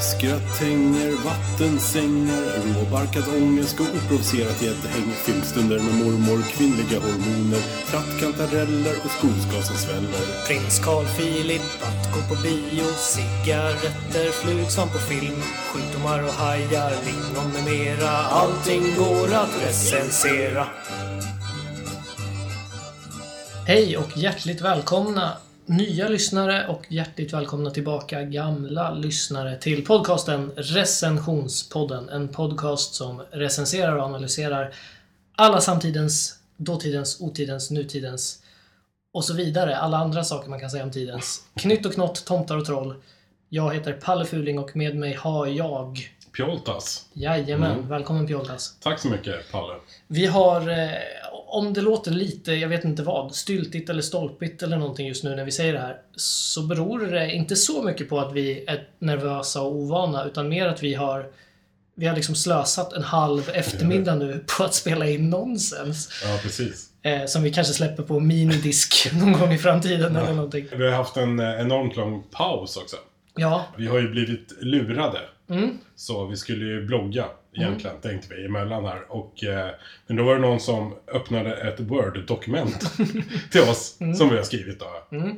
Skratt hänger, vattensängar, råbarkad ångest och oprovocerat gäddhäng. Filmstunder med mormor, kvinnliga hormoner, trattkantareller och skogsgasen sväller. Prins Carl Philip att gå på bio Cigaretter, flug som på film Sjukdomar och hajar, lingon med mera Allting går att recensera Hej och hjärtligt välkomna nya lyssnare och hjärtligt välkomna tillbaka gamla lyssnare till podcasten Recensionspodden. En podcast som recenserar och analyserar alla samtidens, dåtidens, otidens, nutidens och så vidare. Alla andra saker man kan säga om tidens. Knytt och knott, tomtar och troll. Jag heter Palle Fuling och med mig har jag... Pjoltas! Jajamän, välkommen Pjoltas. Tack så mycket, Palle. Vi har, eh, om det låter lite, jag vet inte vad, styltigt eller stolpigt eller någonting just nu när vi säger det här, så beror det inte så mycket på att vi är nervösa och ovana, utan mer att vi har vi har liksom slösat en halv eftermiddag nu på att spela in nonsens. Ja, precis. Eh, som vi kanske släpper på minidisk någon gång i framtiden eller någonting. Vi har haft en eh, enormt lång paus också. Ja, Vi har ju blivit lurade. Mm. Så vi skulle ju blogga egentligen, tänkte vi, emellan här. Och, eh, men då var det någon som öppnade ett Word-dokument till oss, Mm. som vi har skrivit då.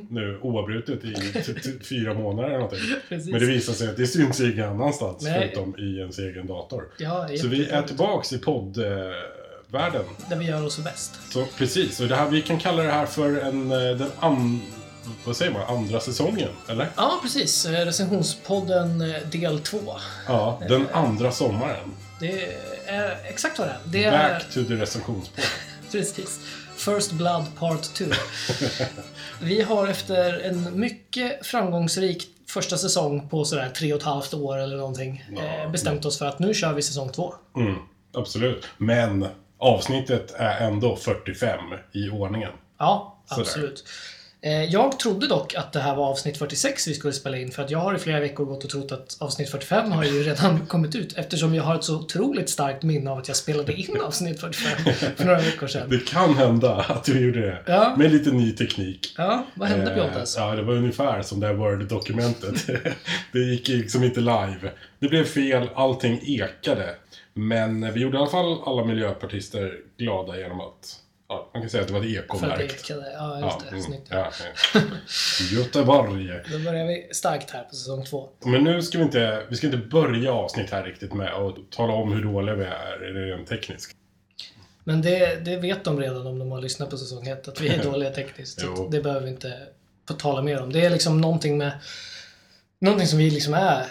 Nu oavbrutet i typ typ fyra månader eller någonting. precis. Men det visar sig att det syns ingen annanstans, Nej. förutom i ens egen dator. ja, Så vi är tillbaks i poddvärlden. Där vi gör oss bäst. Så precis, och det här, vi kan kalla det här för en, eh, den an, vad säger man, andra säsongen, eller? Ja, precis. Eh, Recensionspodden eh, del 2. Ja, den andra sommaren. Det är exakt vad det är. Det är Back to the recensionspodd. precis First Blood Part 2. vi har efter en mycket framgångsrik första säsong på sådär tre och ett halvt år eller någonting eh, bestämt oss för att nu kör vi säsong två. Mm, absolut. Men avsnittet är ändå 45 i ordningen. Ja, Sådär. absolut. Eh, Jag trodde dock att det här var avsnitt 46 vi skulle spela in för att jag har i flera veckor gått och trott att avsnitt 45 har ju redan kommit ut eftersom jag har ett så otroligt starkt minne av att jag spelade in avsnitt 45 för några veckor sedan. Det kan hända att vi gjorde det. Ja. Med lite ny teknik. Ja, vad hände Eh, Pjoltas? Ja, det var ungefär som det här Word-dokumentet. det gick liksom inte live. Det blev fel, allting ekade. Men vi gjorde i alla fall alla miljöpartister glada genom att, ja, man kan säga att det var ett För att det ekomärkt. ekade. Ja, just det. mm, Snyggt. ja, ja. Göteborg. Då börjar vi starkt här på säsong två. Men nu ska vi inte, vi ska inte börja avsnitt här riktigt med att tala om hur dåliga vi är rent tekniskt. Men det, det vet de redan om de har lyssnat på säsong ett, att vi är dåliga tekniskt. Så Jo. att det behöver vi inte få tala mer om. Det är liksom någonting med Någonting som vi liksom är,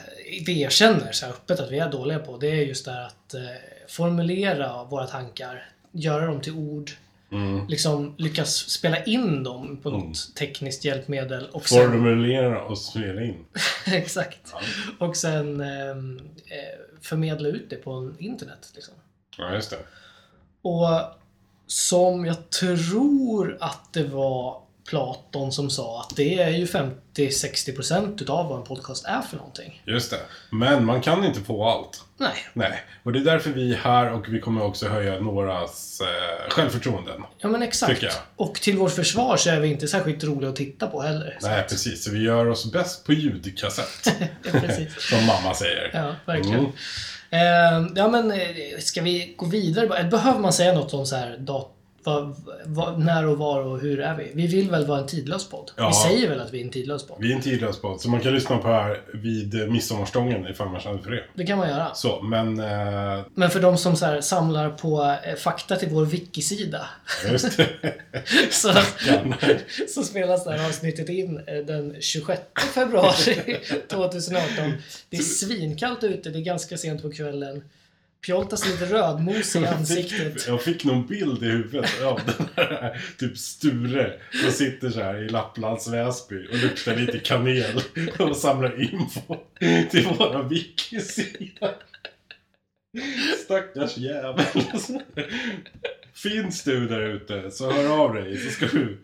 vi erkänner så här öppet att vi är dåliga på, det är just det här att eh, formulera våra tankar, göra dem till ord, liksom lyckas spela in dem på något tekniskt hjälpmedel och sen Formulera och spela in. Exakt. Och sen ehm, eh, förmedla ut det på internet. Liksom. Ja, just det. Och som jag tror att det var Platon som sa att det är ju 50-60% utav vad en podcast är för någonting. Just det. Men man kan inte få allt. Nej, Nej, och det är därför vi är här och vi kommer också höja någras eh, självförtroenden. ja men exakt. Tycker jag. Och till vårt försvar så är vi inte särskilt roliga att titta på heller. Nej, precis. Så vi gör oss bäst på ljudkassett, Precis. som mamma säger. Ja, verkligen. Mm. Eh, ja, men eh, ska vi gå vidare? bara? Eller Behöver man säga något om så här, dat- vad, vad, när och var och hur är vi? Vi vill väl vara en tidlös podd? Ja. Vi säger väl att vi är en tidlös podd? Vi är en tidlös podd, så man kan lyssna på det här vid midsommarstången ifall man känner för det. Det kan man göra. Så, men... Eh, Men för de som så här, samlar på eh, fakta till vår wiki-sida just det. så, så spelas det här avsnittet in eh, den 26 februari 2018. Det är svinkallt ute, det är ganska sent på kvällen. Pjoltas lite rödmosig i ansiktet. Jag fick någon bild i huvudet av den här, typ Sture som sitter så här i Lapplands Väsby och luktar lite kanel och samlar info till våra wiki-sida. Stackars jävel. Finns du där ute så hör av dig så ska du,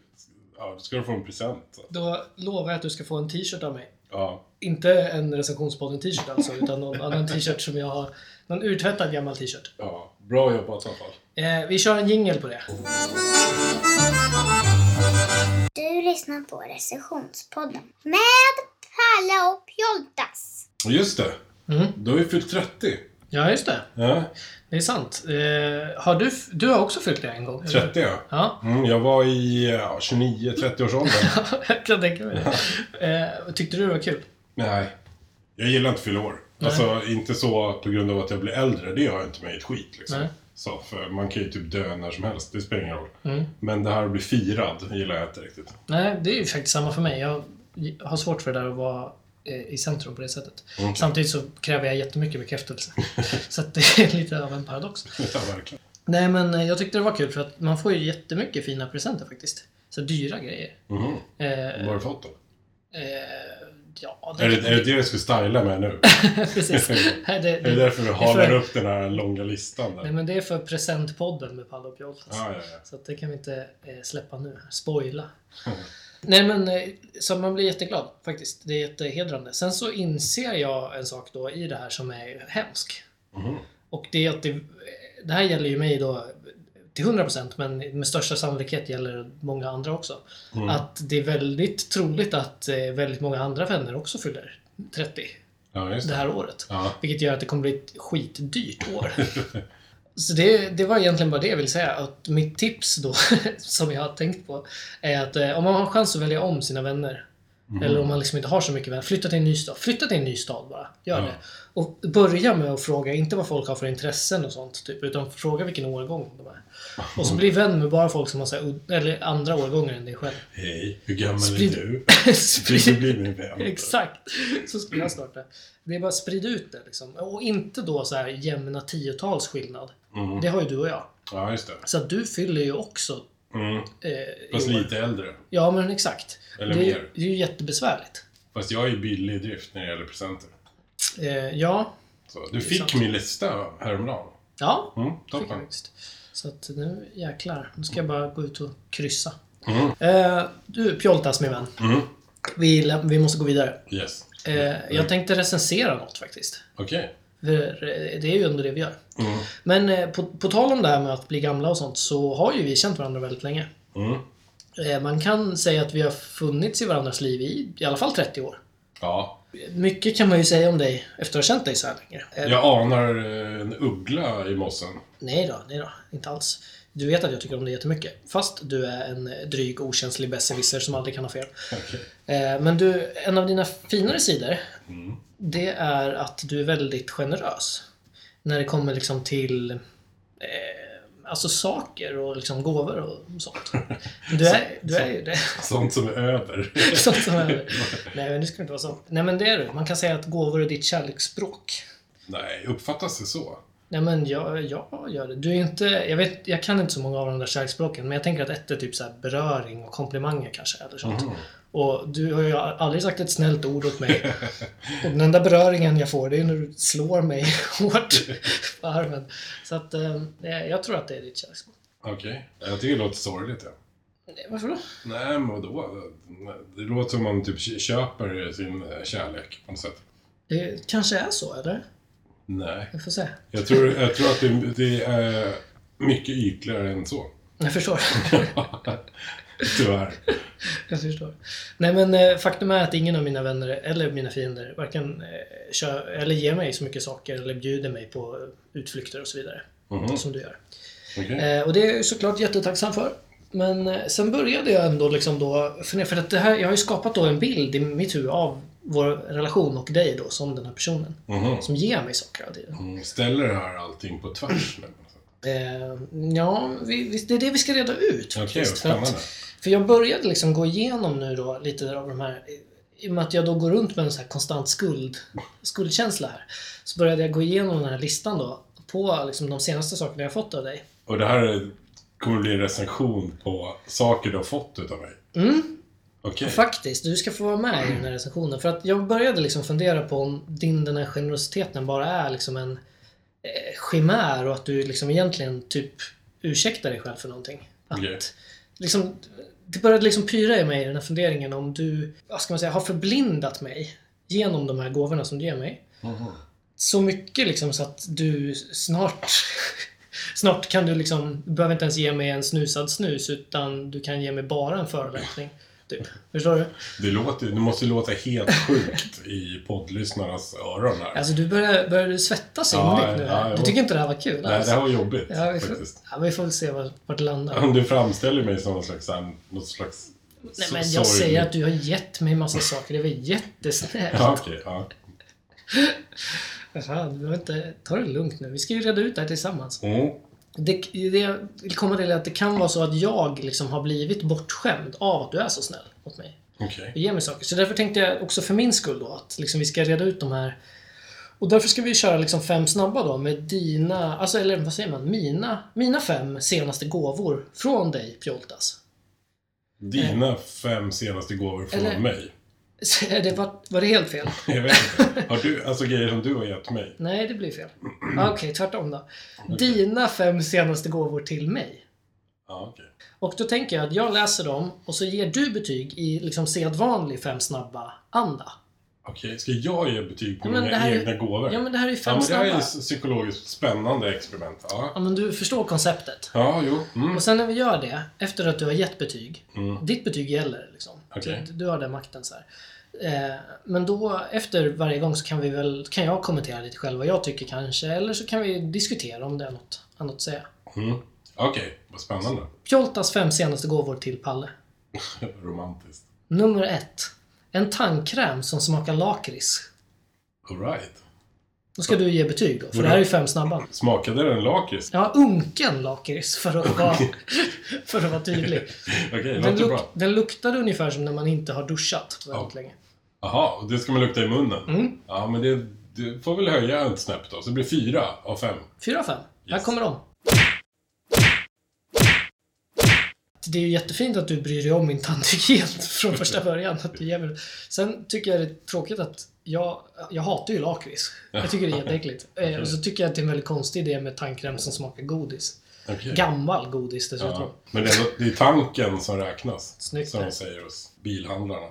ja, ska du få en present. Då lovar jag att du ska få en t-shirt av mig. Ja, Inte en recensionspodden t-shirt alltså, utan någon annan t-shirt som jag har. Någon urtvättad gammal t-shirt. ja. Bra jobbat i alla fall. Eh, vi kör en jingle på det. Du lyssnar på recensionspodden med Palle och Pjoltas. Just det. Mm. Du har ju fyllt 30. Ja, just det. Ja, Det är sant. Eh, har du, f- du har också fyllt det en gång? eller? 30 ja. Ja, Mm, jag var i ja, 29-30 års ålder. jag kan tänka mig det. Eh, tyckte du det var kul? Nej. Jag gillar inte att fylla år. Alltså inte så på grund av att jag blir äldre. Det gör inte mig ett skit liksom. Nej. Så, för man kan ju typ dö när som helst. Det spelar ingen roll. Mm. Men det här att bli firad gillar jag inte riktigt. Nej, det är ju faktiskt samma för mig. Jag har svårt för det där att vara eh, i centrum på det sättet. Mm. Samtidigt så kräver jag jättemycket bekräftelse. så att det är lite av en paradox. Ja, verkligen. Nej, men eh, jag tyckte det var kul för att man får ju jättemycket fina presenter faktiskt. Så dyra grejer. Mhm. Eh, Vad har du fått då? eh, ja, Är det, är det det du ska styla med nu? precis. Nej, det, Är det det, därför du halar för- upp den här långa listan nej, där? men det är för presentpodden med Palle och Pjoltas. Ja, ja, ja. Så att det kan vi inte eh, släppa nu. Spoila. Nej men, eh, så man blir jätteglad faktiskt. Det är jättehedrande. Sen så inser jag en sak då i det här som är hemsk. Mhm. Och det är att det, det här gäller ju mig då till 100% men med största sannolikhet gäller det många andra också. Mm. Att det är väldigt troligt att eh, väldigt många andra vänner också fyller 30 Ja, just det det. här året. Ja. Vilket gör att det kommer bli ett skitdyrt år. Så det, det var egentligen bara det jag ville säga. Att mitt tips då, som jag har tänkt på, är att eh, om man har chans att välja om sina vänner, eller om man liksom inte har så mycket vänner, flytta till en ny stad. Flytta till en ny stad bara. Gör Ja. det. Och börja med att fråga, inte vad folk har för intressen och sånt, typ, utan fråga vilken årgång de är. Och så bli vän med bara folk som har så här, ud- eller andra årgångar än dig själv. Hej, hur gammal Sprid- är du? Vill Sprid- du bli min vän? Exakt! Så skulle jag starta. Det är bara sprid ut det liksom. Och inte då så här jämna tiotals skillnad. Mm. Det har ju du och jag. Ja, just det. Så att du fyller ju också Mm. eh, Fast i år. lite äldre. Ja men exakt. Eller det, är, mer. ju- det är ju jättebesvärligt. Fast jag är ju billig i drift när det gäller presenter. Eh, ja. Så, du är sant. fick min lista häromdagen. Ja. Mm, Fick jag toppen. faktiskt. Så att nu jäklar. Nu ska jag bara gå ut och kryssa. Mm. Eh, du Pjoltas min vän. Mm. Vi, lä- vi måste gå vidare. Yes. Eh, Mm. jag tänkte recensera något faktiskt. Okej. För eh, det är ju ändå det vi gör. Mm. Men eh, på, på tal om det här med att bli gamla och sånt så har ju vi känt varandra väldigt länge. Mm. Eh, Man kan säga att vi har funnits i varandras liv i i alla fall 30 år. Ja. Mycket kan man ju säga om dig efter att ha känt dig så här länge. Eh, Jag anar eh, en uggla i mossen. Nej då, nej då, inte alls. Du vet att jag tycker om dig jättemycket. Fast du är en eh, dryg, okänslig besserwisser som aldrig kan ha fel. Eh, Men du, en av dina finare sidor, det är att du är väldigt generös. När det kommer liksom till eh, alltså saker och liksom gåvor och sånt. Du är, du är ju det. Sånt som är över. Sånt som är. Nej, men nu ska det inte vara så. Nej, men det är du. Man kan säga att gåvor är ditt kärleksspråk. Nej, uppfattas det så? Nej men jag, jag gör det. Du är inte, jag, vet, jag kan inte så många av de där kärleksspråken men jag tänker att ett är typ så här beröring och komplimanger kanske. Eller sånt. Och du har ju aldrig sagt ett snällt ord åt mig. och den enda beröringen jag får det är när du slår mig hårt på armen. Så att eh, jag tror att det är ditt kärleksspråk. Okej. Jag tycker det låter sorgligt. Ja. Nej, Varför då? Nej, men vadå? Det låter som om man typ köper sin eh, kärlek på något sätt. Det kanske är så eller? Nej. Vi får se. Jag tror, jag tror att det, det är mycket ytligare än så. Jag förstår. Tyvärr. Jag förstår. Nej men eh, faktum är att ingen av mina vänner eller mina fiender varken eh, kör, eller ger mig så mycket saker eller bjuder mig på eh, utflykter och så vidare. Mhm. Som du gör. Okej. Eh, och det är jag ju såklart jättetacksam för. Men eh, sen började jag ändå liksom då fundera, för att det här, jag har ju skapat då en bild i mitt huvud av vår relation och dig då som den här personen. Mhm. Som ger mig saker hela tiden. Mm, Ställer det här allting på tvärs nu? Eh, ja, vi, vi, det är det vi ska reda ut Okej, faktiskt. vad för, att, spännande. för jag började liksom gå igenom nu då lite av de här i och med att jag då går runt med en så här konstant skuld, skuldkänsla här. Så började jag gå igenom den här listan då på liksom de senaste sakerna jag fått av dig. Och det här är- kommer bli en recension på saker du har fått utav mig? Mm, Okej. Faktiskt, du ska få vara med i den här recensionen. För att jag började liksom fundera på om din den här generositeten bara är liksom en eh, chimär och att du liksom egentligen typ ursäktar dig själv för någonting. Att, Okej. liksom, det började liksom pyra i mig den här funderingen om du, vad ska man säga, har förblindat mig genom de här gåvorna som du ger mig. Mhm. Så mycket liksom så att du snart Snart kan du liksom, du behöver inte ens ge mig en snusad snus utan du kan ge mig bara en förolämpning. Typ. Förstår du? Det, låter, det måste ju låta helt sjukt i poddlyssnarnas öron här. Alltså du börjar, börjar du svettas Ja, innerligt nu. ja, här. jo. du tycker inte det här var kul Nej, alls? det här var jobbigt ja, vi får, faktiskt. ja, vi får väl se vart, vart det landar. Om du framställer mig som någon slags... så här, Något slags Nej, so- men jag sorglig- säger att du har gett mig massa saker. Det var jättesnällt. Ja, okej. Ja. Fan, du behöver inte... Ta det lugnt nu. Vi ska ju reda ut det här tillsammans. Mm. Det, det jag vill komma till är att det kan vara så att jag liksom har blivit bortskämd av att du är så snäll mot mig. Okej. och ger mig saker. Så därför tänkte jag också för min skull då att liksom vi ska reda ut de här. Och därför ska vi köra liksom fem snabba då med dina, alltså eller vad säger man, mina, mina fem senaste gåvor från dig Pjoltas. Dina fem senaste gåvor från Eh. Eller- mig. Så Det var, var det helt fel? Jag vet inte. Har du, alltså grejer som du har gett mig. Nej, det blir fel. Ah, Okej, tvärtom då. Dina fem senaste gåvor till mig. Ja, okej. Och då tänker jag att jag läser dem och så ger du betyg i liksom sedvanlig fem snabba-anda. Okej, ska jag ge betyg på Ja, men det mina här är- egna gåvor? Ja, men det här är ju Ja, fem men det här snabba. är ju psykologiskt spännande experiment. Ja, Ja, men du förstår konceptet. ja jo. Mm. Och sen när vi gör det, efter att du har gett betyg. Mm. Ditt betyg gäller liksom. Okej. Du, du har den makten så här. Eh, Men då efter varje gång så kan vi väl, kan jag kommentera lite själv vad jag tycker kanske. Eller så kan vi diskutera om det är något annat att säga. Mm. Okej, vad spännande. Pjoltas fem senaste gåvor till Palle. Romantiskt. Nummer ett. En tandkräm som smakar lakrits. Alright. Då ska du ge betyg då, för det här är ju fem snabba. Smakade den lakrits? Ja, unken lakrits för att vara, för att vara tydlig. Okej, Den, låter luk, bra. den luktade ungefär som när man inte har duschat väldigt Ja. länge. Jaha, och det ska man lukta i munnen? Mm. Ja, men det, det får väl höja ett snäpp då. Så det blir fyra av fem. Fyra av fem. Här Yes. kommer de. Det är ju jättefint att du bryr dig om min tandhygien från första början. Att du ger mig... det. Sen tycker jag det är tråkigt att jag, jag hatar ju lakrits. Jag tycker det är jätteäckligt. Eh, Och så tycker jag att det är en väldigt konstig idé med tandkräm som smakar godis. Okej. Gammal godis dessutom. Ja, men det är, det är tanken som räknas. Snyggt. Som de säger hos bilhandlarna.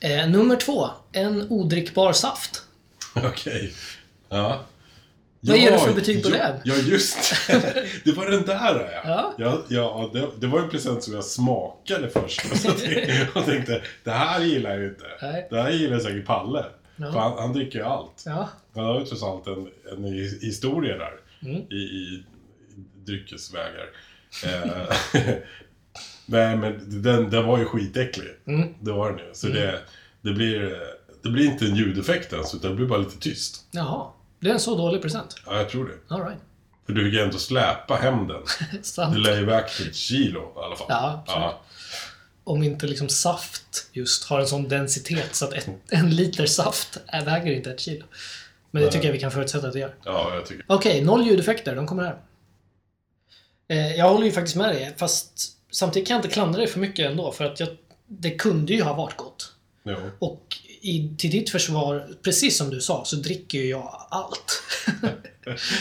Eh, nummer två. En odrickbar saft. Okej. Ja. Vad ja, ger du för betyg på ja, det? Ja, just det. Det var den där ja. Ja. ja, ja det, det var en present som jag smakade först. Och, så tänkte, och tänkte, det här gillar jag ju inte. Nej. Det här gillar säkert Palle. Ja. För han, han dricker ju allt. Ja. Han har ju trots allt en, en his- historia där. Mm. I, i dryckesvägar. Eh, Nej, men den, den var ju skitäcklig. Mm. Det var den ju. Så det, det, blir, det blir inte en ljudeffekt ens, utan det blir bara lite tyst. Jaha. Det är en så dålig present. Ja, jag tror det. Alright. För du fick ju ändå släpa hem den. Sant. Du lär ju iväg till ett kilo i alla fall. Ja, ja. om inte liksom saft just har en sån densitet så att ett, en liter saft är- väger inte ett kilo. Men det tycker jag vi kan förutsätta att det gör. ja jag tycker Okej, noll ljudeffekter. De kommer här. Eh, jag håller ju faktiskt med dig, fast samtidigt kan jag inte klandra dig för mycket ändå, för att jag, det kunde ju ha varit gott. jo. Och i, till ditt försvar, precis som du sa, så dricker ju jag allt.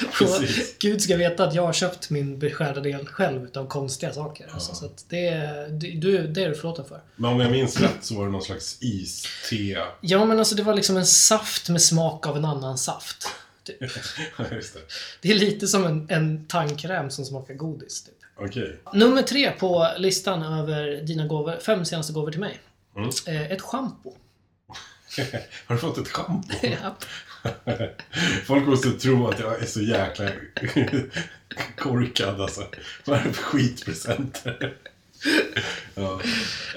Och Precis. Gud ska veta att jag har köpt min beskärda del själv utav konstiga saker. Alltså, så att det, det, du, det är du förlåten för. Men om jag minns rätt så var det någon slags iste. Ja, men alltså det var liksom en saft med smak av en annan saft. Typ. Ja, Just det. Det är lite som en, en tandkräm som smakar godis. Typ. Okej. Nummer tre på listan över dina gåvor, fem senaste gåvor till mig. Mm. Eh, Ett schampo. Har du fått ett schampo? Japp. Folk måste tro att jag är så jäkla korkad alltså. Vad är det för skitpresenter? Ja.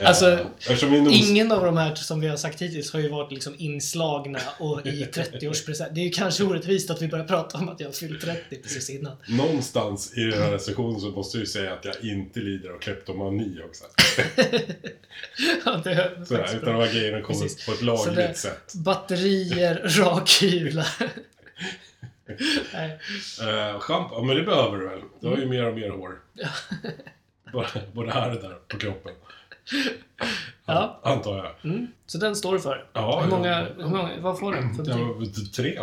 Eh, Alltså, Eftersom min nos... Ingen av de här som vi har sagt hittills har ju varit liksom inslagna och i 30-årspresent. Det är ju kanske orättvist att vi börjar prata om att jag har fyllt 30 precis innan. Någonstans i den här recensionen så måste jag ju säga att jag inte lider av kleptomani också. Ja, det är Så här, faktiskt bra. utan de här grejerna kommer Precis. på ett Så lagligt det- sätt. Batterier, rakhyvlar. Nej. Uh, schampo, ja, men det behöver du väl? Du har ju Mm. mer och mer hår. Både- Både här och där på kroppen. Ja. Antar jag. Mm. Så den står du för. Ja, hur, många, ja. hur många, vad får den för Det betyg? var väl tre,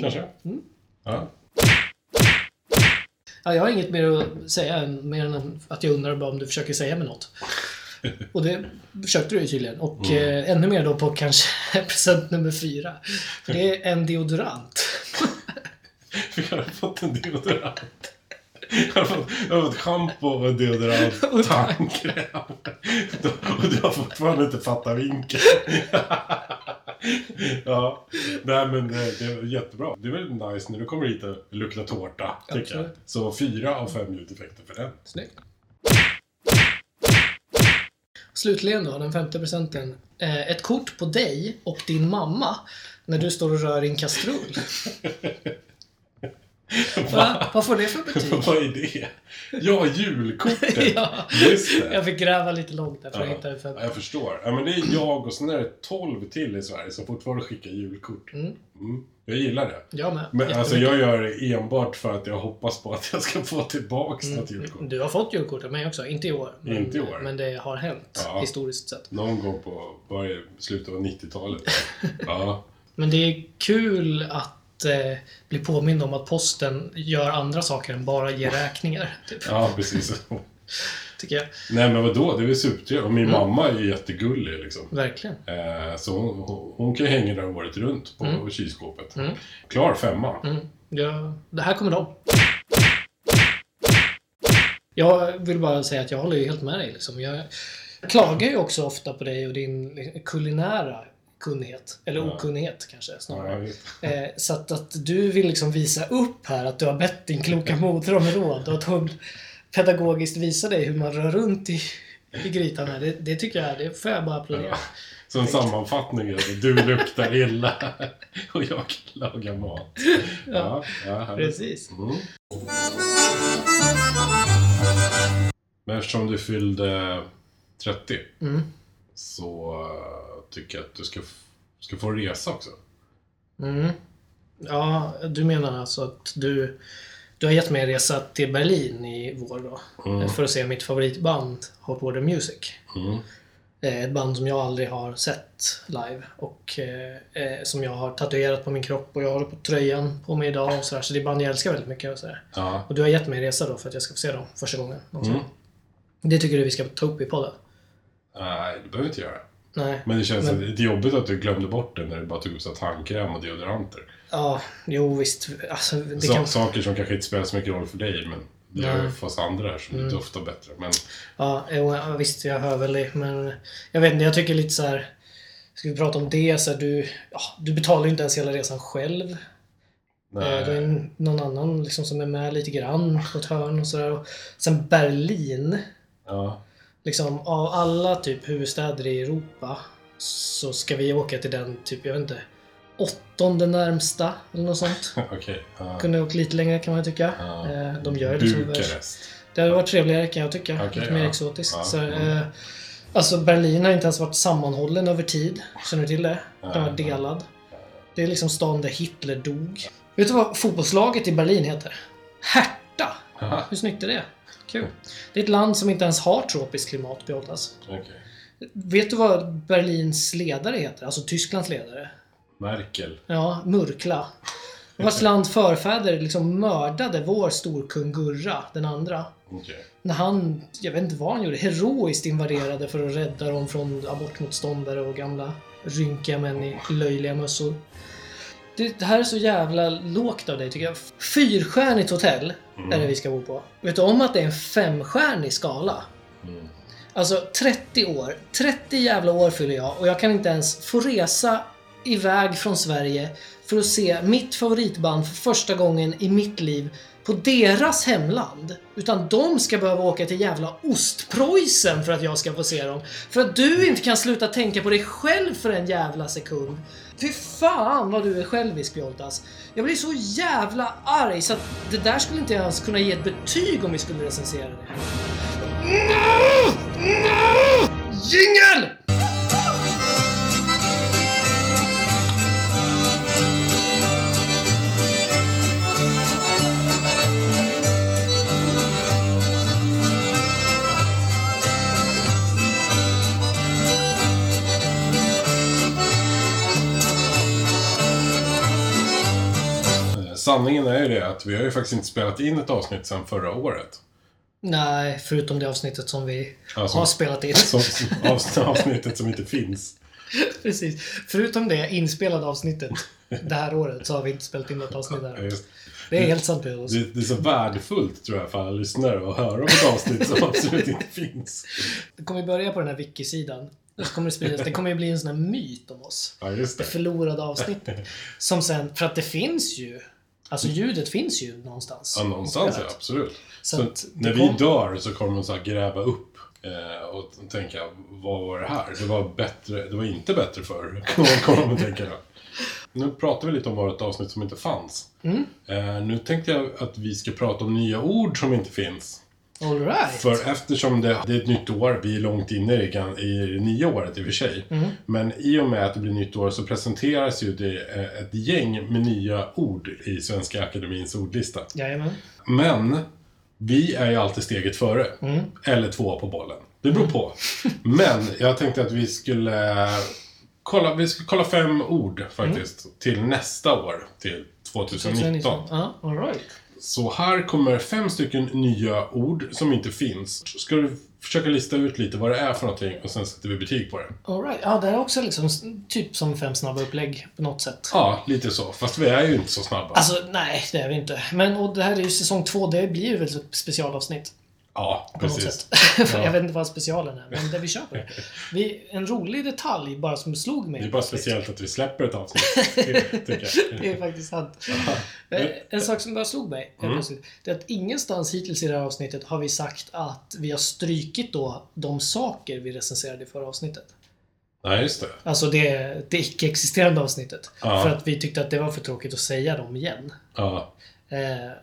kanske? Mm. Ja. Ja, jag har inget mer att säga än, mer än att jag undrar bara om du försöker säga mig något. Och det försökte du ju tydligen. Och Mm. eh, ännu mer då på kanske present nummer fyra. Det är en deodorant. Fick jag fått en deodorant? Jag har fått, jag har fått schampo och deodorant, Och tandkräm. Och du har fortfarande inte fattat vinkeln. Ja, nej men eh, det, det är jättebra. Det är väldigt nice när du kommer hit och luktar tårta, tycker jag. Absolut. Så fyra av fem ljudeffekter för den. Snyggt. Slutligen då, den femte presenten. Eh, Ett kort på dig och din mamma när du står och rör i en kastrull. Va? Vad får det för betyg? Vad är det? Ja, julkortet! ja. Just det. Jag fick gräva lite långt där för att Ja. hitta det Ja, för... jag förstår. Ja, men det är jag och sen är det 12 till i Sverige som fortfarande skickar julkort. Mm. Mm. Jag gillar det. Jag med. Men alltså Jättemycket. jag gör det enbart för att jag hoppas på att jag ska få tillbaks Mm, något julkort. Du har fått julkort av mig också. Inte i år. Men, Inte i år. men det har hänt Ja. historiskt sett. Någon gång på början, slutet av 90-talet. Ja. Men det är kul att eh, bli påmind om att posten gör andra saker än bara ge räkningar. Typ, ja, precis. Tycker jag. Nej men vadå, det är väl supertrevligt. Och min Mm. mamma är ju jättegullig liksom. Verkligen. Eh, så hon, hon- hon kan ju hänga där året runt på kylskåpet. Mm. Klar femma. Mm. Ja, det här kommer de. Jag vill bara säga att jag håller ju helt med dig. Liksom. Jag klagar ju också ofta på dig och din kulinära kunnighet. Eller Ja. okunnighet kanske snarare. Ja, visst. Eh, så att, att du vill liksom visa upp här att du har bett din kloka moder om råd och att hon pedagogiskt visar dig hur man rör runt i, i grytan här. Det, det tycker jag, det får jag bara applådera. Så en sammanfattning är att du luktar illa och jag lagar mat. Ja, ja, härligt. Precis. mm. Men eftersom du fyllde 30 Mm. så eh, tycker jag att du ska, f- ska få resa också. Mm. Ja, du menar alltså att du, du har gett mig en resa till Berlin i vår då. Mm. För att se mitt favoritband Hot Water Music. Mm. Eh, Ett band som jag aldrig har sett live och eh, eh, som jag har tatuerat på min kropp och jag håller på tröjan på mig idag och sådär. Så det är band jag älskar väldigt mycket och sådär. Ja. Och du har gett mig en resa då för att jag ska få se dem första gången. någonsin. Mm. Det tycker du vi ska ta upp i podden? Nej, det behöver du inte göra. Nej. Men det känns Men- lite jobbigt att du glömde bort det när du bara tog upp så här tandkräm och deodoranter. Ja, jo visst. Alltså, det Sa- kan... Saker som kanske inte spelar så mycket roll för dig, men det är Nej. för oss andra här som mm. doftar bättre. Men Ja, jo, ja, visst, jag hör väl det. Men jag vet inte, jag tycker lite så här. Ska vi prata om det? Så här, du, ja, du betalar ju inte ens hela resan själv. nej. Eh, Det är en- någon annan liksom, som är med lite grann på ett hörn och sådär. Och Sen Berlin. Ja. Liksom, av alla typ huvudstäder i Europa så ska vi åka till den typ, jag vet inte, åttonde närmsta eller något sånt. Okej. ja. Kunde åkt lite längre kan man ju tycka. Ja. Eh, De gör det liksom Bukarest. Det hade varit trevligare kan jag tycka. Okej, lite mer ja. exotiskt. Ja, Så, mm. eh, alltså Berlin har inte ens varit sammanhållen över tid. Känner du till det? Den var Nej, delad. Det är liksom stan där Hitler dog. Vet du vad fotbollslaget i Berlin heter? Hertha! Aha, Hur snyggt är det? Kul. Det är ett land som inte ens har tropiskt klimat behållas. okej. Vet du vad Berlins ledare heter? Alltså Tysklands ledare? Merkel. Ja, Murkla. Vars land förfäder liksom mördade vår storkung Gurra, den andra Okej. när han, jag vet inte vad han gjorde, heroiskt invaderade för att rädda dem från abortmotståndare och gamla rynkiga män i löjliga mössor. Det, det här är så jävla lågt av dig tycker jag. Fyrstjärnigt hotell är det vi ska bo på. Vet du om att det är en femstjärnig skala? Mm. Alltså 30 år. 30 jävla år fyller jag och jag kan inte ens få resa iväg från Sverige för att se mitt favoritband för första gången i mitt liv på deras hemland. Utan de ska behöva åka till jävla Ostpreussen för att jag ska få se dem. För att du inte kan sluta tänka på dig själv för en jävla sekund. Fy fan vad du är självisk Bjoltas. Jag blir så jävla arg så att det där skulle inte jag ens kunna ge ett betyg om vi skulle recensera det. Jingel! Eh, Sanningen är ju det att vi har ju faktiskt inte spelat in ett avsnitt sedan förra året. Nej, förutom det avsnittet som vi Alltså, har spelat in. som, som avs- avsnittet som inte finns. Precis. Förutom det inspelade avsnittet det här året så har vi inte spelat in något avsnitt Ja, där. just. Det är helt sant Pedro. Det, det är så värdefullt tror jag för alla lyssnare att höra om ett avsnitt som absolut inte finns. Det kommer ju börja på den här wiki-sidan. Det kommer, det spridas. det kommer ju bli en sån här myt om oss. Ja, just Det det. förlorade avsnittet. Som sen, för att det finns ju. Alltså ljudet finns ju någonstans. Ja, någonstans, ja, inspelat. absolut. Så Så att det när kom- vi dör så kommer de så här gräva upp eh, och t- tänka, vad var det här? Det var, bättre, det var inte bättre förr, kommer- kommer de att tänka då. Nu pratar vi lite om vårt avsnitt som inte fanns. Mm. Eh, nu tänkte jag att vi ska prata om nya ord som inte finns. All right. För eftersom det, det är ett nytt år, vi är långt inne i, gan- i det nya året i och för sig. Mm. Men i och med att det blir nytt år så presenteras ju det eh, ett gäng med nya ord i Svenska Akademins ordlista. Jajamän. Men vi är ju alltid steget före. Mm. Eller två på bollen. Det beror på. Men jag tänkte att vi skulle kolla, vi skulle kolla fem ord faktiskt Mm. till nästa år, till 2019. Ja, all right. Så här kommer fem stycken nya ord som inte finns. Ska du försöka lista ut lite vad det är för någonting och sen sätter vi betyg på det. All right. Ja, det är också liksom s- typ som fem snabba upplägg på något sätt. Ja, lite så. Fast vi är ju inte så snabba. Alltså, nej, det är vi inte. Men och det här är ju säsong två, det blir ju väl ett specialavsnitt. ja, På något precis. sätt. Jag vet inte vad specialen är, men det vi kör på det. Vi, en rolig detalj bara som slog mig. Det är bara speciellt att vi släpper ett avsnitt. tycker jag. Det är faktiskt sant. Eh, En sak som bara slog mig Mm. helt plötsligt, det är att ingenstans hittills i det här avsnittet har vi sagt att vi har strykit då de saker vi recenserade i förra avsnittet. Nej, just det. Alltså det, det icke-existerande avsnittet. Ja. För att vi tyckte att det var för tråkigt att säga dem igen. Ja. Eh,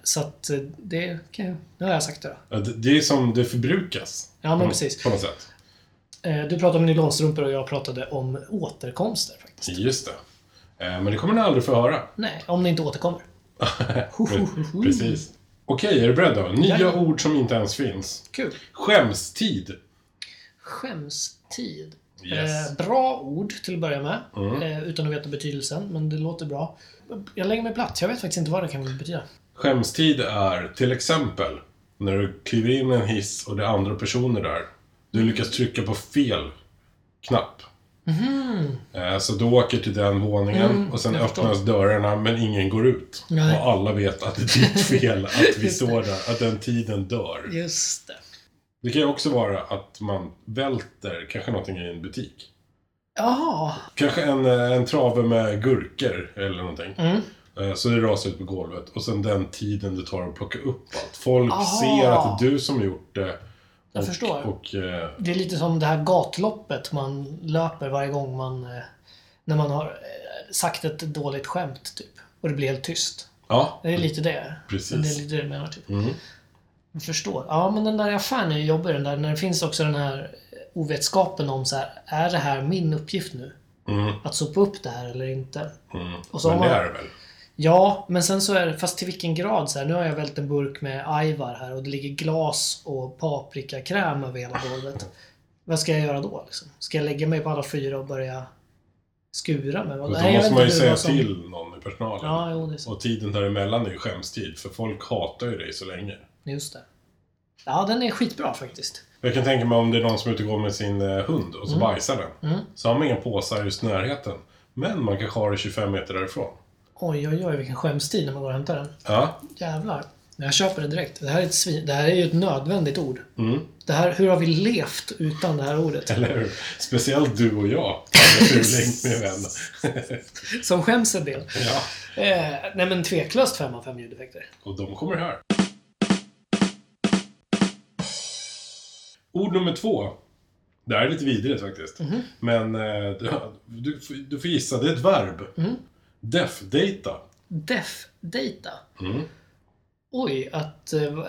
så att eh, det kan jag, Nu har jag sagt det då. Ja, Det det är som det förbrukas. Ja, men Mm, precis. På något sätt. Eh, du pratade om nylonstrumpor och jag pratade om återkomster faktiskt. Just det. Eh, Men det kommer ni aldrig få höra. Nej, om det inte återkommer. Precis. Okej, är du beredd då? Nya Ja. ord som inte ens finns. Kul. Skämstid. Skämstid. Yes. Mm. Eh, bra ord till att börja med. Eh, utan att veta betydelsen, men det låter bra. Jag lägger mig platt. Jag vet faktiskt inte vad det kan betyda. Skämstid är till exempel när du kliver in i en hiss och det är andra personer där. Du lyckas trycka på fel knapp. Mhm. Eh, Så du åker till den våningen och sen Mm, jag förstår. öppnas dörrarna men ingen går ut. Nej. Och alla vet att det är ditt fel att vi Just det. står där, att den tiden dör. Just det. Det kan ju också vara att man välter kanske någonting i en butik. Jaha. Kanske en, eh, en trave med gurkor eller någonting. Mm. Eh, Så det rasar ut på golvet och sen den tiden det tar att plocka upp allt. Folk Aha. ser att det är du som gjort det. Jag och, förstår. Och, eh, Det är lite som det här gatloppet man löper varje gång man... eh, När man har eh, sagt ett dåligt skämt, typ. Och det blir helt tyst. ja, Det är lite det. Mm. Precis. Det är lite det du menar, typ. Mm. Jag förstår. Ja, men den där affären är ju jobbig, den där. När det finns också den här eh, ovetskapen om så här, är det här min uppgift nu? Mm. Att sopa upp det här eller inte? mm. Och så men har det man- är det väl. Ja, men sen så är det, fast till vilken grad så här, nu har jag vält en burk med ajvar här och det ligger glas och paprikakräm över hela golvet. Vad ska jag göra då? Liksom? Ska jag lägga mig på alla fyra och börja skura med vad? Och då jag vet måste man ju inte säga vad som- till någon i personalen. Ja, jo, det är sant. Och tiden däremellan är ju skämstid, för folk hatar ju dig så länge. Just det. Ja, den är skitbra faktiskt. Jag kan tänka mig om det är någon som är ute och går med sin eh, hund och så bajsar den. Så har man inga påsar just i närheten. Men man kanske har det 25 meter därifrån. Oj, oj, oj, vilken skämstid när man går och hämtar den. Ja, Jävlar. Jag köper den direkt. Det här är, ett svin... det här är ju ett nödvändigt ord. Mm. Det här, hur har vi levt utan det här ordet? eller hur? Speciellt du och jag. Kalle Fuling, min vän. Som skäms en del. Ja, Eh, nej men tveklöst 5 av 5 ljudeffekter. och de kommer här. Ord nummer två. Det här är lite vidrigt faktiskt. Men eh, du, du, får- du får gissa, det är ett verb. Mm. Def-data. Def data. Mm. Oj, att eh,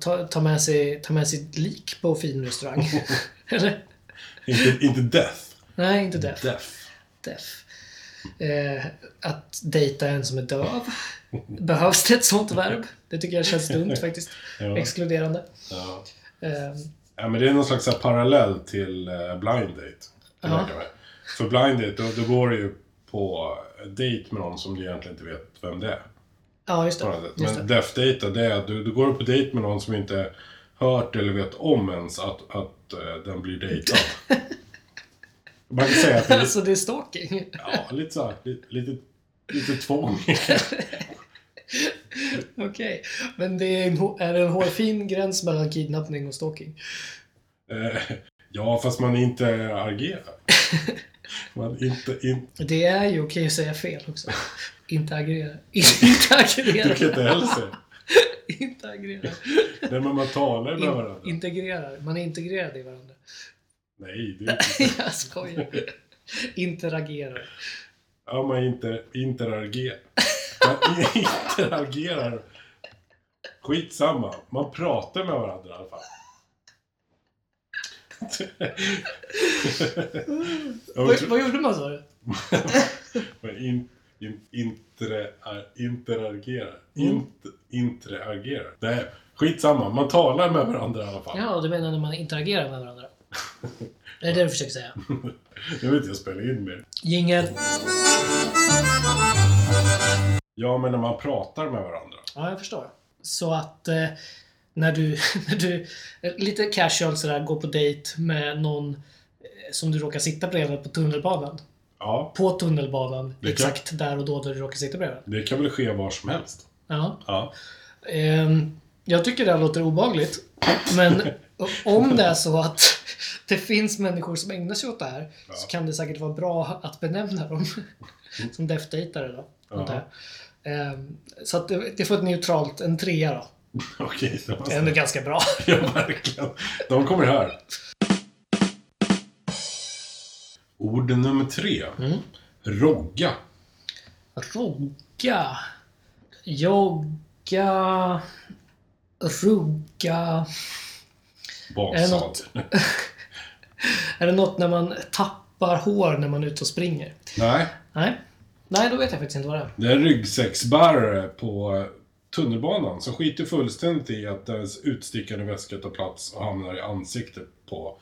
ta, ta, med sig, ta med sitt lik på fin restaurang. Eller? Inte, inte death. Nej, inte def. Def. def. Eh, att dejta en som är döv. Behövs det ett sånt verb? Det tycker jag känns dumt faktiskt. Ja. Exkluderande. Ja. Eh, Ja, men det är någon slags så här parallell till eh, blind date. kan jag Ja. tänka mig. För blind date, då, då går du ju på date med någon som du egentligen inte vet vem det är. ja, just På det. något sätt. Just Men det. deaf date, det är att du, du går på date med någon som inte hört eller vet om ens att, att eh, den blir dejtad. Man kan säga att det är lite, Alltså det är stalking. ja, lite så här, lite, lite, lite tvång. Okej. Men det är, en, hå- är det en hårfin gräns mellan kidnappning och stalking? Eh, ja, fast man inte agerar. Man inte, inte, Det är ju okej att säga fel också. Inte agera. Inte agera. du kan inte heller säga. Inte agera. Nej, men man talar med varandra. In, integrerar. Man är integrerad i varandra. Nej, det är inte. Jag skojar. Interagerar. Ja, man inte interagerar. Man interagerar. Skitsamma. Man pratar med varandra i alla fall. Ja, men Vad, tro- vad gjorde man sa du? Men in, in, intre, ar- interagerar. Mm. Int, interagerar. Det är skitsamma. Man talar med varandra i alla fall. Ja, du menar när man interagerar med varandra? Det är det du försöker säga. Nu vill inte jag spela in mer. Jingel. Ja, men när man pratar med varandra. Ja, jag förstår. Så att eh, när du, när du eh, lite casual sådär går på dejt med någon eh, som du råkar sitta bredvid på tunnelbanan. Ja, På tunnelbanan, Det kan- exakt där och då där du råkar sitta bredvid. det kan väl ske var som helst. Ja. Ja. Ehm, jag tycker det här låter obagligt. Men om det är så att det finns människor som ägnar sig åt det här så Ja. kan det säkert vara bra att benämna dem som deftdejtare då. antar jag. Ehm, Så att det det får ett neutralt, en trea då. Okej, det var Det är ändå snällt. ganska bra. Ja, verkligen. De kommer här. Ord nummer tre. Mm. Rogga. Rogga. Jogga. Rugga. Är Basad. det något- Är det något när man tappar hår när man är ute och springer? Nej, Nej. Nej, då vet jag faktiskt inte vad det är. det är en ryggsäcksbärare på tunnelbanan som skiter fullständigt i att deras utstickande väska tar plats och hamnar i ansiktet på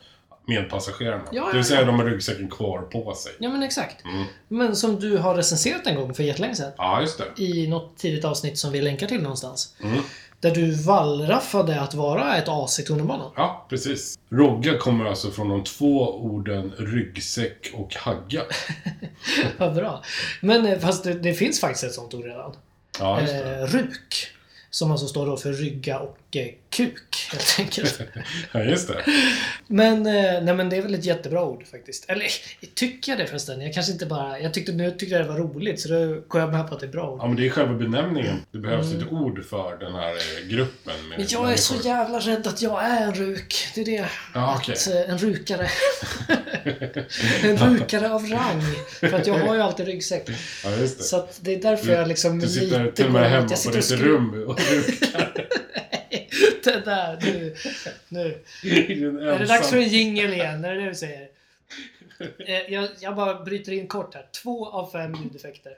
medpassagerarna. ja, Det vill säga, ja. de har ryggsäcken kvar på sig. Ja, men exakt. Mm. Men som du har recenserat en gång för jättelänge sedan. Ja, just det. I något tidigt avsnitt som vi länkar till någonstans. Mm. Där du wallraffade att vara ett as i tunnelbanan. Ja, precis. Rogga kommer alltså från de två orden ryggsäck och hagga. Vad bra. Men eh, fast det, det finns faktiskt ett sånt ord redan. Ja, just det. Eh, ruk. Som alltså står då för rygga och eh, kuk, helt enkelt. Ja, just det. Men, eh, nej, men det är väl ett jättebra ord faktiskt. Eller tycker jag det förresten? Jag kanske inte bara... Jag tyckte, nu tyckte jag det var roligt så då går jag med på att det är bra ord. Ja, men det är själva benämningen. Det behövs ett ord för den här eh, gruppen. med Mm. Men jag är så människor. jävla rädd att jag är en ruk. Det är det. Ja, okej. Att, eh, en rukare. en rukare av rang. För att jag har ju alltid ryggsäck. Ja, just det. Så att det är därför jag liksom du sitter lite till och går med emot. hemma Jag på sitter och ditt skruvar. rum och rukar Det där, nu. nu. i din Är det dags för ensam... en jingel igen? Är det det du säger? Eh, Jag, jag bara bryter in kort här. Två av fem ljudeffekter.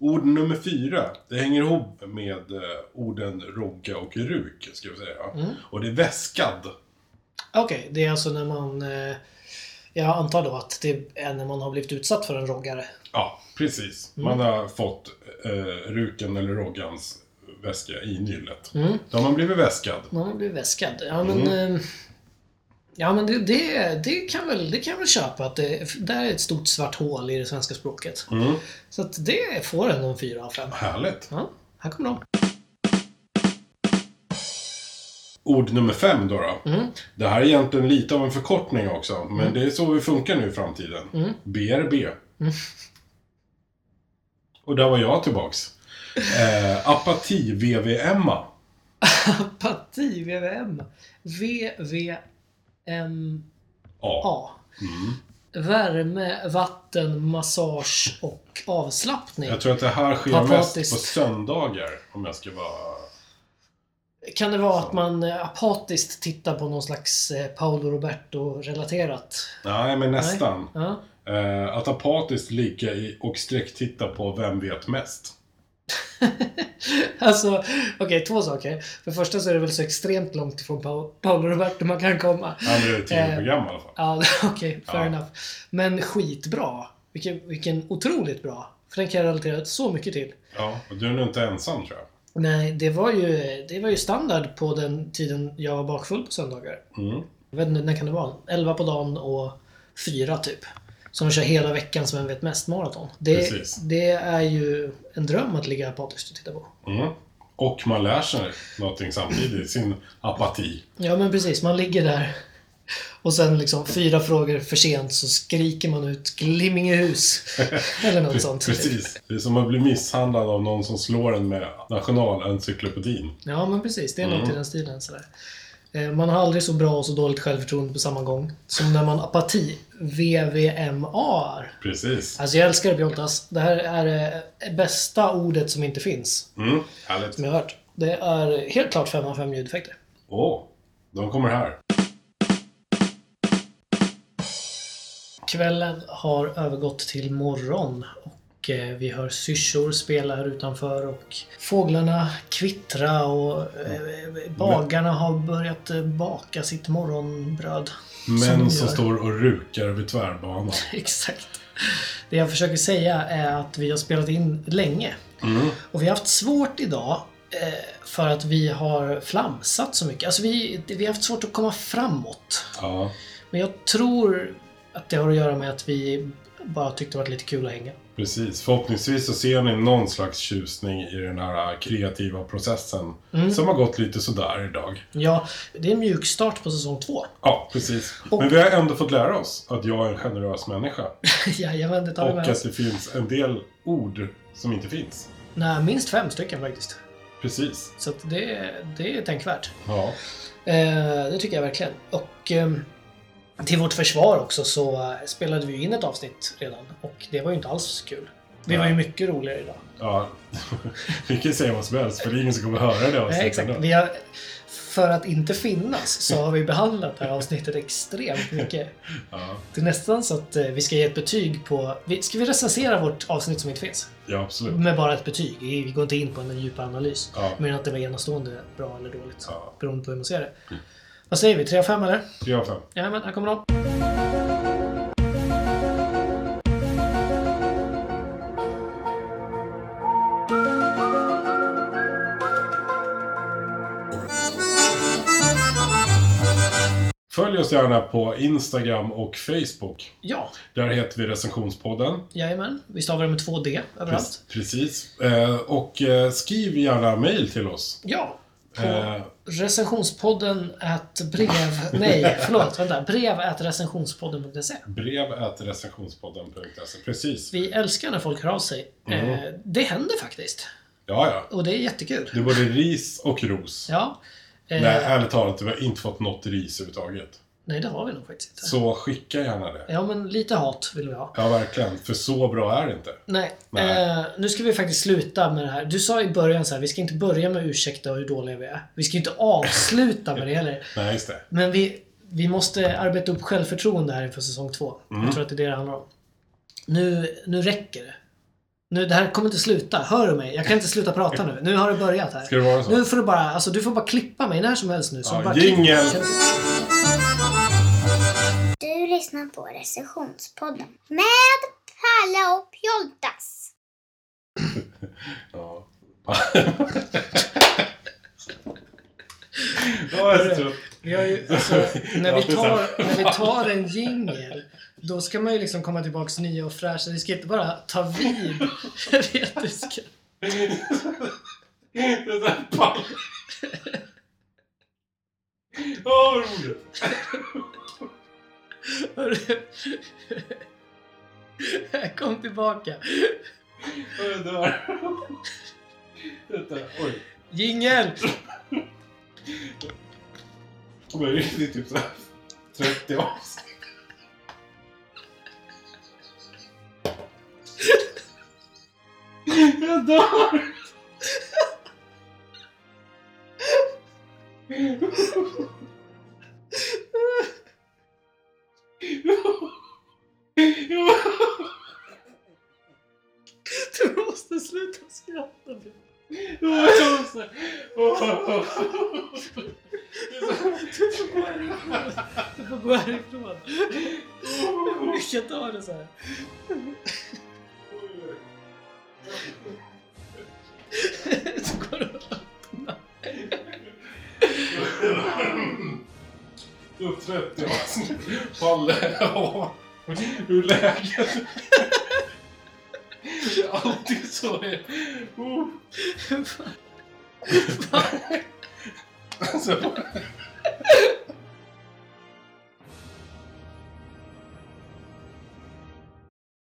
Ord nummer fyra. Det hänger ihop med eh, orden rogga och ruk, ska vi säga. Mm. Och det är väskad. Okej, det är alltså när man... eh, Jag antar då att det är när man har blivit utsatt för en roggare. Ja, precis. Mm. Man har fått eh, ruken eller roggans väska i nyllet. Mm. Då har man blivit väskad. Man blir väskad. Ja men, eh, ja, men det, det, det, kan väl, det kan jag väl köpa. Att det, där är ett stort svart hål i det svenska språket. Mm. Så att det får ändå en fyra av fem. Härligt. Ja, här kommer de. Ord nummer fem då. då. Mm. Det här är egentligen lite av en förkortning också, men det är så vi funkar nu i framtiden. Mm. BRB. Och där var jag tillbaks. Eh, Apati-VVMA. Parti VVM. VVMA. Ja. Värme, vatten, massage och avslappning. Jag tror att det här sker mest Apatiskt. på söndagar, om jag ska vara... Kan det vara att man eh, apatiskt tittar på någon slags eh, Paolo Roberto-relaterat? Nej, men nästan. Ja. Eh, att apatiskt lika i och sträcktitta på Vem vet mest? Alltså, okej, två saker. För det första så är det väl så extremt långt ifrån Pa- Paolo Roberto man kan komma. Ja, men det är ett tv-program i alla fall. Ja, okej, fair Ja. enough. Men skitbra. Vilken, vilken otroligt bra. För den kan jag relatera så mycket till. Ja, och du är nog inte ensam, tror jag. Nej, det var ju, det var ju standard på den tiden jag var bakfull på söndagar. Mm. Jag vet inte, när kan det vara? 11 på dagen och 4 typ. Som kör hela veckan som en vet mest-maraton. Det, Precis. det är ju en dröm att ligga apatiskt och titta på. Mm. Och man lär sig någonting samtidigt, sin apati. Ja men precis, man ligger där och sen liksom fyra frågor för sent så skriker man ut Glimmingehus. Eller något sånt. Precis. Det är som att bli misshandlad av någon som slår en med nationalencyklopedin. Ja men precis, det är något Mm. i den stilen. Sådär. Eh, Man har aldrig så bra och så dåligt självförtroende på samma gång. Som när man apati VVMAR. Precis. Alltså jag älskar det Pjontas. Det här är det bästa ordet som inte finns. Mm. Härligt. Som jag har hört. Det är helt klart 5 av 5 ljudeffekter. Åh, de kommer här. Kvällen har övergått till morgon och eh, vi hör syrsor spela här utanför och fåglarna kvittra och eh, bagarna har börjat eh, baka sitt morgonbröd. Som de Män som gör. står och rukar vid tvärbanan. Exakt. Det jag försöker säga är att vi har spelat in länge Mm. och vi har haft svårt idag eh, för att vi har flamsat så mycket. Alltså vi, vi har haft svårt att komma framåt. Ja. Men jag tror att det har att göra med att vi bara tyckte det var lite kul att hänga. Precis. Förhoppningsvis så ser ni någon slags tjusning i den här kreativa processen Mm. som har gått lite sådär idag. Ja, det är en mjuk start på säsong två. Ja, precis. Och- Men vi har ändå fått lära oss att jag är en generös människa. Jajamän, det tar vi Och med att oss. det finns en del ord som inte finns. Nej, minst fem stycken faktiskt. Precis. Så att det, det är tänkvärt. Ja. Eh, det tycker jag verkligen. Och ehm, till vårt försvar också så eh, spelade vi ju in ett avsnitt redan. Och det var ju inte alls kul. Det var ju mycket roligare idag. Ja, vi kan ju säga vad som helst för det är ingen som kommer höra det Nej, avsnittet exakt. ändå. Vi har, för att inte finnas så har vi behandlat det här avsnittet extremt mycket. Ja, Det är nästan så att eh, vi ska ge ett betyg på... vi- Ska vi recensera vårt avsnitt som inte finns? ja, absolut. Med bara ett betyg. Vi vi går inte in på en djupare analys. Ja. Men att det var enastående bra eller dåligt. Ja. Mm. Beroende på hur man ser det. Vad säger vi? 3 av 5 eller? 3 av 5. Jajamän, här kommer de. Följ oss gärna på Instagram och Facebook. Ja, Där heter vi Recensionspodden. jajamän. Vi stavar det med 2D överallt. Precis. Eh, Och eh, skriv gärna mejl till oss. Ja. På Eh, recensionspodden at brev... Nej, förlåt. Vänta. Brev at recensionspodden.se. Brev at recensionspodden.se. Precis. Vi älskar när folk hör av sig. Mm. Eh, det händer faktiskt. Ja, ja. Och det är jättekul. Det är både ris och ros. Ja. Eh, Nej, ärligt talat, vi har inte fått något ris överhuvudtaget. nej, det har vi nog faktiskt inte. Så skicka gärna det. Ja, men lite hat vill vi ha. Ja, verkligen. För så bra är det inte. Nej. Nej. Eh, nu ska vi faktiskt sluta med det här. Du sa i början så här, vi ska inte börja med ursäkta och hur dåliga vi är. Vi ska inte avsluta med det heller. Nej, just det. Men vi, vi måste arbeta upp självförtroende här inför säsong två. Mm. Jag tror att det är det det handlar om. Nu, nu räcker det. Nu, det här kommer inte sluta. Hör du mig? Jag kan inte sluta prata nu. Nu har det börjat här. Ska det vara så? Nu får du bara, alltså, du får bara klippa mig när som helst nu. Så Ja, bara jingel! klipp. Du lyssnar på Recessionspodden med Palle och Pjoltas. Ja. jag är så trött. Vi har ju, alltså, när, vi tar, när vi tar en jingel, då ska man ju liksom komma tillbaks nya och fräscha. Vi ska inte bara ta vid. Jag vet, vi ska... Det där pang. Åh, vad roligt. Hörru. Jag kom tillbaka. Åh, jag dör. Vänta, oj. Jingel! Men det är typ såhär 30 avsnitt. Jag dör! Du måste sluta skratta. Jag måste... Åh. Du får gå härifrån. Du får gå härifrån. Vi kan ta det så här. Så går det åt Upp 30 avsnitt. Palle. Åh. Hur är läget? Alltid så är Oh. det. Alltså,